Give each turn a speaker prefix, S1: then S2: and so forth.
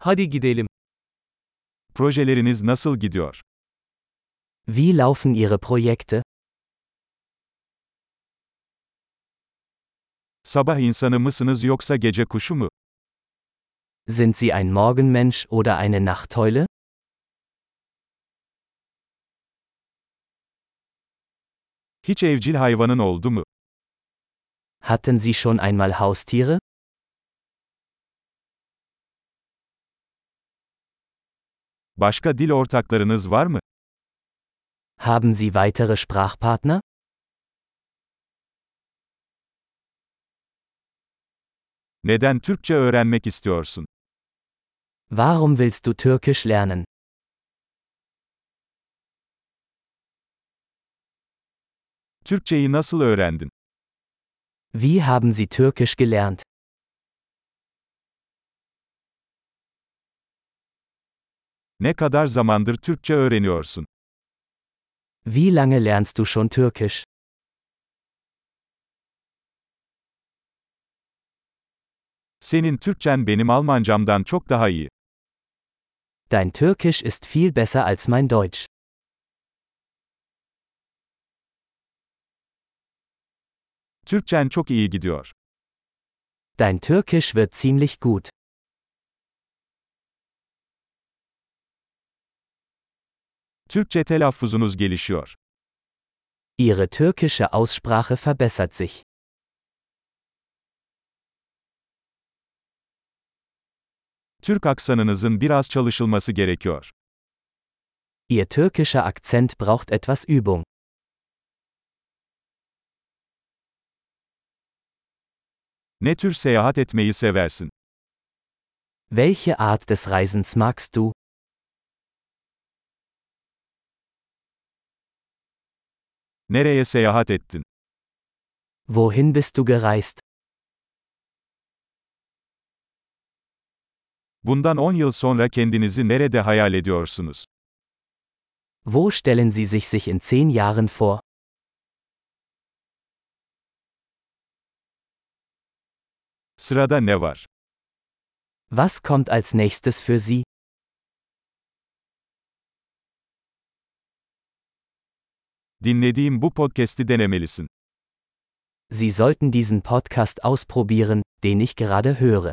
S1: Hadi gidelim.
S2: Projeleriniz nasıl gidiyor?
S3: Wie laufen Ihre Projekte?
S2: Sabah insanı mısınız yoksa gece kuşu mu?
S3: Sind Sie ein Morgenmensch oder eine Nachteule?
S2: Hiç evcil hayvanın oldu mu?
S3: Hatten Sie schon einmal Haustiere?
S2: Başka dil ortaklarınız var mı?
S3: Haben Sie weitere Sprachpartner?
S2: Neden Türkçe öğrenmek istiyorsun?
S3: Warum willst du Türkisch lernen?
S2: Türkçeyi nasıl öğrendin?
S3: Wie haben Sie Türkisch gelernt?
S2: Ne kadar zamandır Türkçe öğreniyorsun?
S3: Wie lange lernst du schon Türkisch?
S2: Senin Türkçen benim Almancamdan çok daha iyi.
S3: Dein Türkisch ist viel besser als mein Deutsch.
S2: Türkçen çok iyi gidiyor.
S3: Dein Türkisch wird ziemlich gut.
S2: Türkçe telaffuzunuz gelişiyor.
S3: Ihre türkische Aussprache verbessert sich.
S2: Türk aksanınızın biraz çalışılması gerekiyor.
S3: Ihr türkischer Akzent braucht etwas Übung.
S2: Ne tür seyahat etmeyi seversin?
S3: Welche Art des Reisens magst du?
S2: Nereye seyahat ettin?
S3: Wohin bist du gereist?
S2: Bundan 10 yıl sonra kendinizi nerede hayal ediyorsunuz?
S3: Wo stellen Sie sich sich in zehn Jahren vor?
S2: Sırada ne var?
S3: Was kommt als nächstes für Sie?
S2: Dinlediğim bu podcast'i denemelisin.
S3: Sie sollten diesen Podcast ausprobieren, den ich gerade höre.